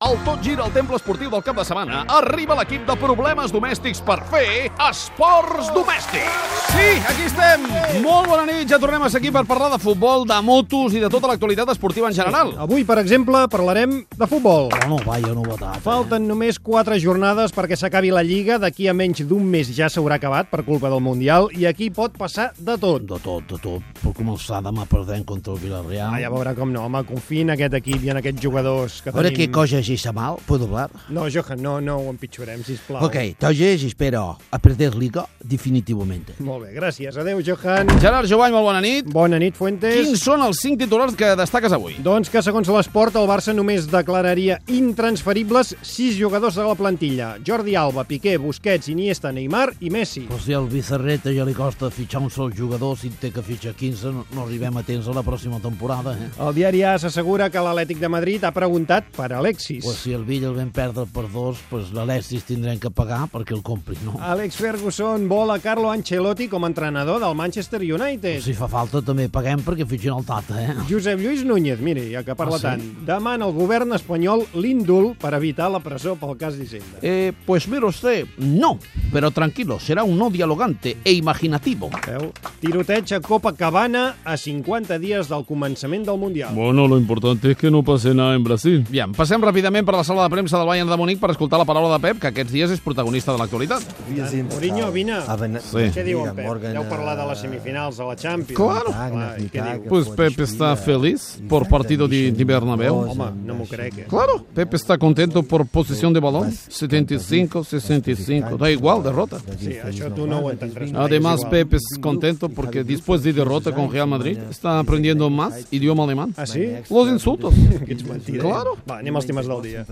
Al Tot Gira al Temple Esportiu del cap de setmana arriba l'equip de problemes domèstics per fer esports domèstics. Sí, aquí estem. Molt bona nit, ja tornem a ser aquí per parlar de futbol, de motos i de tota l'actualitat esportiva en general. Avui, per exemple, parlarem de futbol. Però no, vaja novetat. Falten només 4 jornades perquè s'acabi la Lliga. D'aquí a menys d'un mes ja s'haurà acabat per culpa del Mundial i aquí pot passar de tot. De tot, de tot. Per començar demà perdent contra el Villarreal. Ah, ja veurà com no, home, confia en aquest equip i en aquests jugadors que A veure què tenim. cosa llegeix a mal, puedo hablar? No, Johan, no, no ho empitjorem, sisplau. Ok, entonces espero a perder Liga definitivamente. Molt bé, gràcies. Adéu, Johan. Gerard Jovany, molt bona nit. Bona nit, Fuentes. Quins són els cinc titulars que destaques avui? Doncs que, segons l'esport, el Barça només declararia intransferibles sis jugadors de la plantilla. Jordi Alba, Piqué, Busquets, Iniesta, Neymar i Messi. Però si al Vicerreta ja li costa fitxar un sol jugador, si en té que fitxar 15, no, no arribem a temps a la pròxima temporada, eh? El diari A s'assegura que l'Atlètic de Madrid ha preguntat per Alexis. Pues si el Villa el vam perdre per dos, pues l'Alexis tindrem que pagar perquè el compri, no? Alex Ferguson vol a Carlo Ancelotti com a entrenador del Manchester United. Si fa falta també paguem perquè fitxin el Tata, eh? Josep Lluís Núñez, mira, ja que parla Ah, sí? tant, demana al govern espanyol l'índul per evitar la presó pel cas d'Hisenda. Eh, pues mira usted, no, pero tranquilo, será un no dialogante e imaginativo. Veu? Tiroteig a Copacabana a 50 dies del començament del Mundial. Bueno, lo importante es que no pase nada en Brasil. Bien, passem ràpidament per la sala de premsa del Bayern de Múnich per escoltar la paraula de Pep, que aquests dies és protagonista de l'actualitat. Wir sind Mourinho, vine. eh, Aber Sí. Què diu en Pep? Morgen, Deu parlar de les semifinals de la Champions. Claro. Clar, i què diu? Pues Pep está feliz por partido de, de Bernabéu. Home, no m'ho crec. Eh? Claro, Pep está contento por posición de balón. 75, 65, da igual, derrota. Sí, això tu no ho entendràs. Además, És igual. Pep es contento porque después de derrota con Real Madrid está aprendiendo más idioma alemán. Ah, sí? Los insultos. Ets mentida. Claro. Va, anem als temes del dia.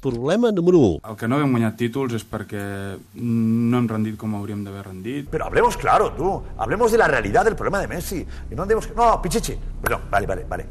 Problema número 1. El que no hem guanyat títols és perquè no hem rendit com hauríem d'haver rendit. Pero hablemos claro, tú. Hablemos de la realidad del problema de Messi. Y no andemos... No, Pichichi. Perdón, vale, vale, vale.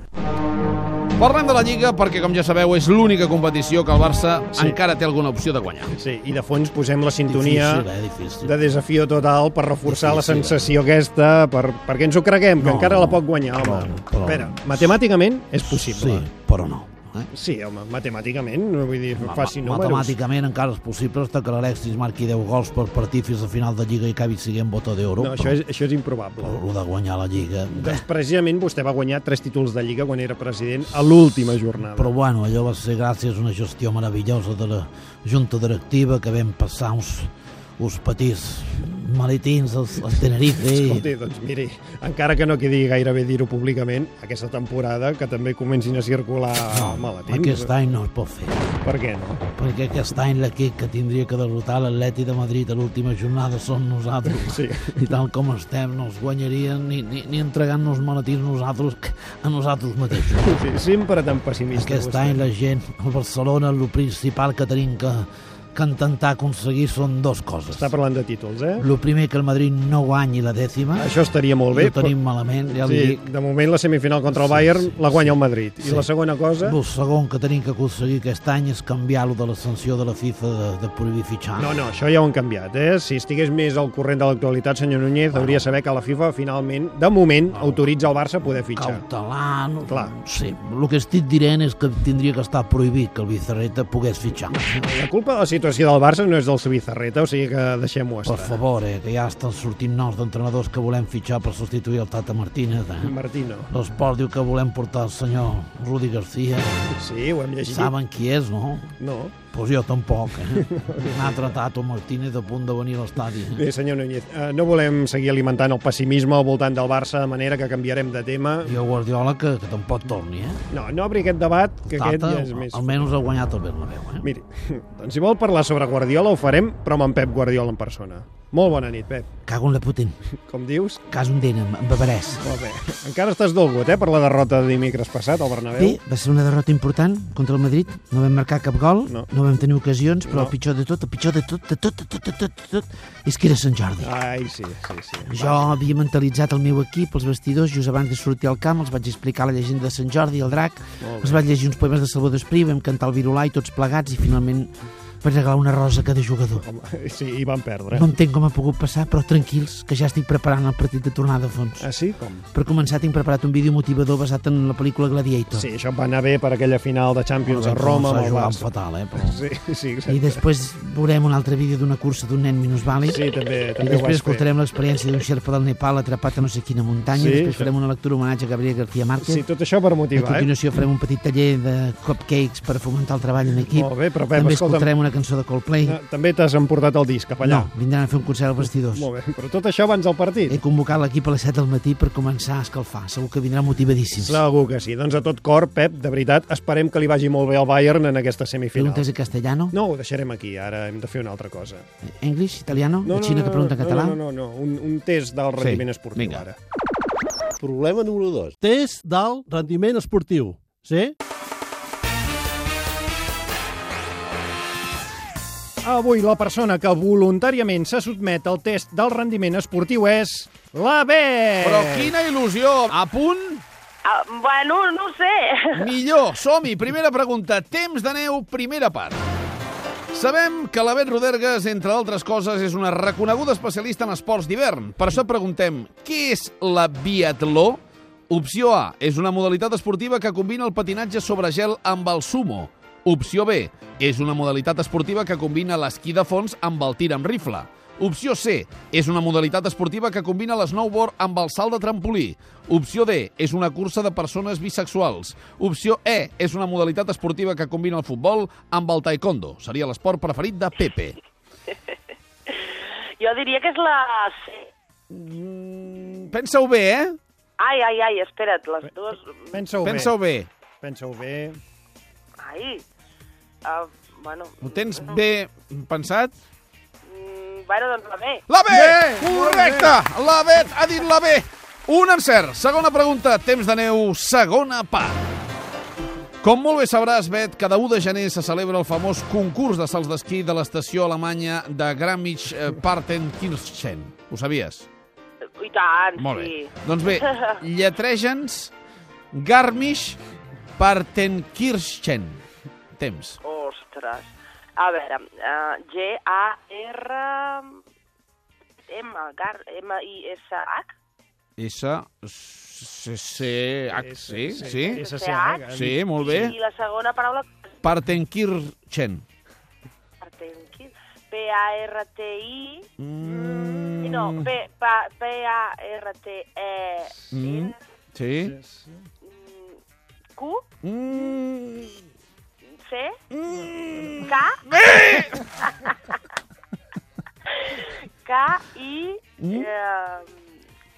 Parlem de la Lliga perquè, com ja sabeu, és l'única competició que el Barça sí. encara té alguna opció de guanyar. Sí, i de fons posem la sintonia Difícil, eh? Difícil. de Desafió Total per reforçar la Difícil, eh? sensació aquesta, per, perquè ens ho creguem, que No, encara la pot no, guanyar, home. no, però- Espera, matemàticament és Sí, possible. però no. Eh? Sí, home, matemàticament, no vull dir, faci Ma- números. Matemàticament encara és possible hasta que l'Alexis marqui 10 gols per partit fins a final de Lliga i acabi siguent bota d'euro. No, això és, això és improbable. Però el de guanyar la Lliga... Doncs precisament vostè va guanyar tres títols de Lliga quan era president a l'última jornada. Però bueno, allò va ser gràcies a una gestió meravellosa de la Junta Directiva que vam passar uns, uns petits maletins als, als Tenerife i Escolti, doncs miri, encara que no quedi gaire bé dir-ho públicament, aquesta temporada que també comencin a circular no, maletins. aquest any no es pot fer. Per què no? Perquè aquest any l'equip que tindria que derrotar l'Atleti de Madrid a l'última jornada som nosaltres. Sí. I tal com estem, no els guanyarien ni, ni, ni entregant-nos maletins nosaltres a nosaltres mateixos. sí sempre tan pessimista. Aquest vostè. any la gent, el Barcelona, el principal que tenim que, que intentar aconseguir són dues coses. Està parlant de títols, eh? El primer, que el Madrid no guanyi la dècima. Això estaria molt bé. ho tenim malament, ja però... li Sí, dic. de moment la semifinal contra el Bayern sí, la guanya el Madrid. Sí. I la segona cosa... El segon que tenim que aconseguir aquest any és canviar-lo de la sanció de la FIFA de, de prohibir fitxar. No, no, això ja ho han canviat, eh? Si estigués més al corrent de l'actualitat, senyor Núñez, hauria de saber que la FIFA, finalment, de moment, autoritza el Barça a poder fitxar. cautelar... No, Clar. Sí, el que estic dient és que tindria que estar prohibit que el Bizarreta pogués fitxar. La culpa de la situació del Barça no és del Subizarreta, o sigui que deixem-ho Per estar. favor, eh, que ja estan sortint noms d'entrenadors que volem fitxar per substituir el Tata Martínez. Eh? Martino. L'esport diu que volem portar el senyor Rudi Garcia. Sí, ho hem llegit. Saben qui és, no? No. Pues jo tampoc, eh? N'ha tratat el Martínez a punt de venir a l'estadi. eh? Bé, senyor Núñez, eh, no volem seguir alimentant el pessimisme al voltant del Barça de manera que canviarem de tema. I el Guardiola que, que tampoc torni, eh? No, no obri aquest debat, que aquest ja és més... almenys ha guanyat el Bernabéu, eh? Miri, doncs si vol parlar sobre Guardiola ho farem, però amb en Pep Guardiola en persona. Molt bona nit, Pep. Cago en la Putin. Com dius? Cas un dent, amb beberès. Molt bé. Encara estàs dolgut, eh, per la derrota de dimecres passat al Bernabéu. Bé, va ser una derrota important contra el Madrid. No vam marcar cap gol, No. no, no vam tenir ocasions, però No. no. el pitjor de tot, el pitjor de tot, de tot, de tot, de tot, de tot, és que era Sant Jordi. Ai, sí, sí, sí. Jo havia mentalitzat el meu equip, els vestidors, just abans de sortir al camp, els vaig explicar la llegenda de Sant Jordi, el drac, Molt bé. els vaig llegir uns poemes de Salvador Espriu, vam cantar el Virulà i tots plegats, i finalment per regalar una rosa a cada jugador. Sí, i van perdre. No entenc com ha pogut passar, però tranquils, que ja estic preparant el partit de tornada a fons. Ah, sí? Com? Per començar, tinc preparat un vídeo motivador basat en la pel·lícula Gladiator. Sí, això va anar bé per aquella final de Champions a Roma amb el jugant Barça. Doncs fatal, eh? Però... Sí, sí, exacte. I després veurem un altre vídeo d'una cursa d'un nen minusvàlid. Sí, també- I també ho després vaig fer. escoltarem l'experiència d'un xerpa del Nepal atrapat a no sé quina muntanya. Sí, Sí, després això. farem una lectura homenatge a Gabriel García Márquez. Sí, tot això per A motivar, eh? continuació farem un petit taller de cupcakes per fomentar el treball en equip. Molt bé, però, Pep, També escolta'm- escoltarem una cançó de Coldplay. No, També t'has emportat el disc cap allà. No, Eh, vindran a fer un concert als vestidors. Molt bé, però tot això abans del partit. He convocat l'equip a les 7 del matí per començar a escalfar. Segur que vindran motivadíssims. Segur que sí. Doncs a tot cor, Pep, de veritat, esperem que li vagi molt bé al Bayern en aquesta semifinal. Preguntes en castellano? No, ho deixarem aquí, ara hem de fer una altra cosa. English? Italiano? No, la Xina que pregunta en no, català? No, no, no, no. Un, un test del rendiment esportiu, vinga. ara. Problema número 2. Test del rendiment esportiu. Sí? Avui la persona que voluntàriament se sotmet al test del rendiment esportiu és la B! Però Eh. quina il·lusió! A punt? Ah, bueno, no ho sé. Millor, som-hi. Primera pregunta. Temps de neu, primera part. Sabem que la Bet Rodergues, entre altres coses, és una reconeguda especialista en esports d'hivern. Per això et preguntem, què és la biatló? Opció A, és una modalitat esportiva que combina el patinatge sobre gel amb el sumo. Opció B, és una modalitat esportiva que combina l'esquí de fons amb el tir amb rifle. Opció C, és una modalitat esportiva que combina l'snowboard amb el salt de trampolí. Opció D, és una cursa de persones bisexuals. Opció E, és una modalitat esportiva que combina el futbol amb el taekwondo. Seria l'esport preferit de Pepe. Jo diria que és la... C. Pensa-ho bé, eh? Ai, ai, ai, espera't, les dues... Pensa-ho Pensa-ho bé. bé. Pensa-ho bé. Ai, ah, bueno... Ho tens bé pensat? Mm, bueno, doncs la B. La B! Correcte! La Bet ha dit la B! Un encert. Segona pregunta. Temps de neu, segona part. Com molt bé sabràs, Bet, cada 1 de gener se celebra el famós concurs de salts d'esquí de l'estació alemanya de Grammich-Partenkirchen. Ho sabies? I tant, Molt bé. sí. Doncs bé, lletrege'ns Garmisch-Partenkirchen. Temps. Ostres. A veure, uh, G-A-R... M, gar, M-I-S-H? S, C, C, Ah, H, sí, sí. SSH. Sí, molt bé. I la segona paraula... Partenkirchen. Partenki. P-A-R-T-I... Mm. No, P- pa- P-A-R-T-E... Mm. Sí. Q? Mm. C? K? K, I, eh,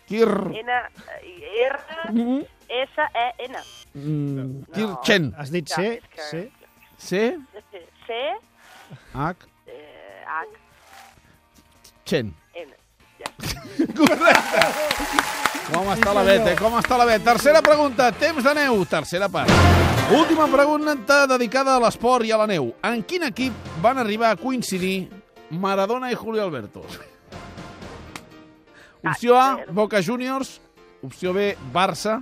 Kir... N, eh, R, S, E, N. Mm. Kirchen. Has dit C, C, C, C, H, eh, H, Chen. N. Correcte. Com està la Bet, eh? Com està la Bet? Tercera pregunta. Temps de neu. Tercera part. Última pregunta dedicada a l'esport i a la neu. En quin equip van arribar a coincidir Maradona i Julio Alberto? Opció A, Boca Juniors. Opció B, Barça.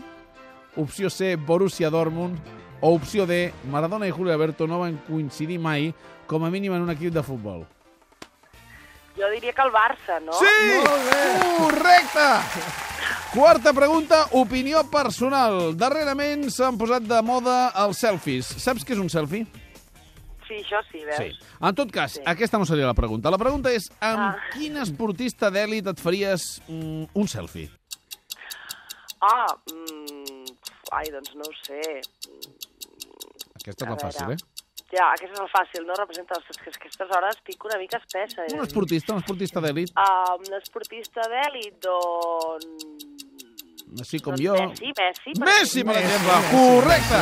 Opció C, Borussia Dortmund. O opció D, Maradona i Julio Alberto no van coincidir mai, com a mínim en un equip de futbol. Jo diria que el Barça, no? Sí! Correcte! Quarta pregunta, opinió personal. Darrerament s'han posat de moda els selfies. Saps què és un selfie? Sí, això sí, veus? En tot cas, sí. aquesta no seria la pregunta. La pregunta és, amb ah. Ah. quin esportista d'èlit et faries mm, un selfie? Ah, mm, ai, doncs no ho sé. Aquesta és A la fàcil, veure. eh? Ja, aquesta és el fàcil, no? Representa les que aquestes hores estic una mica espessa. eh? Un esportista, un esportista d'èlit, Ah, un esportista d'èlit, doncs... així com doncs jo. Messi, Messi. per Messi, per exemple. Correcte.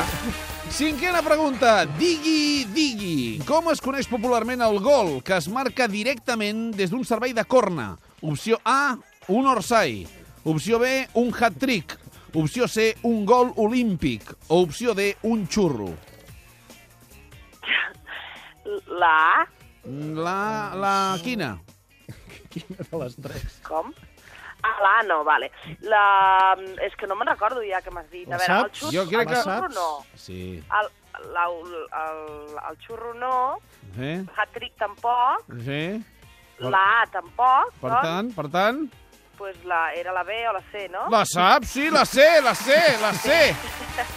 Cinquena pregunta. Digui, digui. Com es coneix popularment el gol que es marca directament des d'un servei de corna? Opció A, un orsai. Opció B, un hat-trick. Opció C, un gol olímpic. O opció D, un xurro. La A, La, la quina? de les tres. com? Ah, la A no, vale. La... És que no me'n recordo ja que m'has dit. La A veure, el saps? xut, Jo crec el que- xurro no. Sí. El, la, el, el xurro no, Sí, eh? hat-trick tampoc, sí. la A tampoc, Per doncs, tant, per tant... pues la, era la B o la C, no? La sap, sí, la sé, la sé, la sé.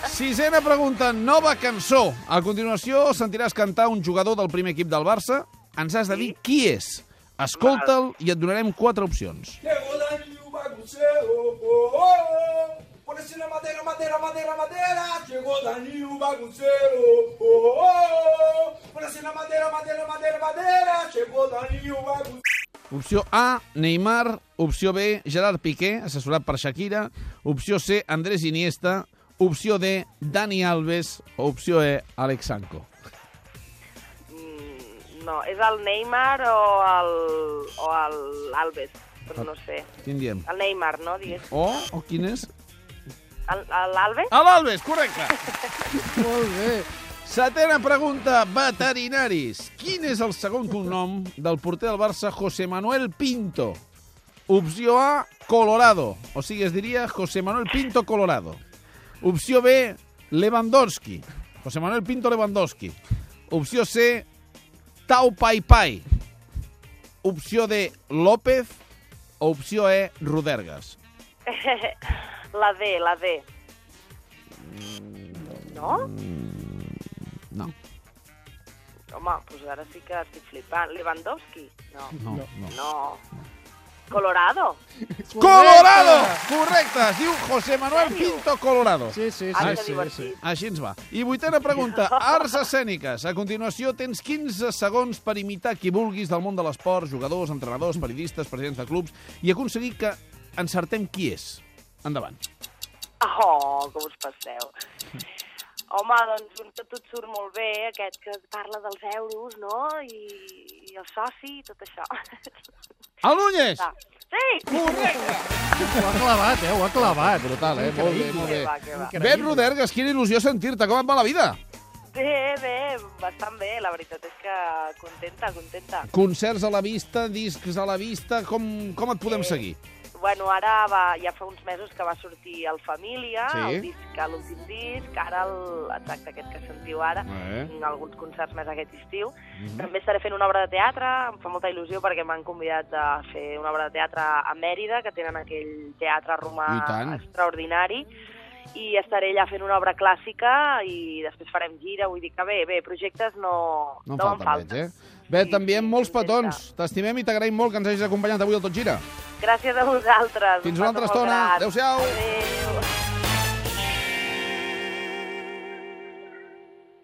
Sisena pregunta, nova cançó. A continuació sentiràs cantar un jugador del primer equip del Barça. Ens has de dir qui és. Escolta'l i et donarem quatre opcions. Opció A, Neymar. Opció B, Gerard Piqué, assessorat per Shakira. Opció C, Andrés Iniesta. Opció D, Dani Alves. Opció E, Alex Sanko. Mm, no, és el Neymar o el, o el Alves, però no sé. Quin diem? El Neymar, no, digués. O, o quin és? El- el- L'Alves? A l'Albes, correcte. Molt bé. Setena pregunta, veterinaris. Quin és el segon cognom del porter del Barça José Manuel Pinto? Opció A, Colorado. O sigui, es diria José Manuel Pinto Colorado. Opció B, Lewandowski. José Manuel Pinto Lewandowski. Opció C, Tau Pai Pai. Opció D, López. Opció E, Rodergas. La D, la D. No? No, Home, doncs ara sí que estic flipant. Lewandowski? No. no, no. No. Colorado? Colorado! Correcte, es diu José Manuel Pinto Colorado. Sí, sí, sí. Ah, Ara Ah, que sí, sí. divertit. Així ens va. I vuitena pregunta, arts escèniques. A continuació tens 15 segons per imitar qui vulguis del món de l'esport, jugadors, entrenadors, periodistes, presidents de clubs, i aconseguir que encertem qui és. Endavant. Oh, com us passeu. Home, doncs un que tot surt molt bé, aquest que parla dels euros, no? I, i el soci i tot això. El Núñez! Va. Sí! Correcte! Ho ha clavat, eh? Ho ha clavat. Brutal, eh? Molt bé, molt Que bé. va, que va. Ben Rodergas, quina il·lusió sentir-te, com et va la vida? Bé, bé, bastant bé, la veritat és que contenta, contenta. Concerts a la vista, discs a la vista, com, com et podem seguir? Bueno, ara va, ja fa uns mesos que va sortir el Família, Sí. el disc, l'últim disc, ara el, exacte aquest que sentiu ara, Eh. en alguns concerts més aquest estiu. Mhm. També estaré fent una obra de teatre, em fa molta il·lusió perquè m'han convidat a fer una obra de teatre a Mèrida, que tenen aquell teatre I romà tant. extraordinari, i estaré allà fent una obra clàssica i després farem gira, vull dir que bé, bé, projectes no, No en no, em falten, falten. veig, eh? Bé, Sí, t'enviem sí, molts contenta. petons. T'estimem i t'agraïm molt que ens hagis acompanyat avui al Tot Gira. Gràcies a vosaltres. Fins una altra Passo molt estona. gran. Adéu-siau. Adéu.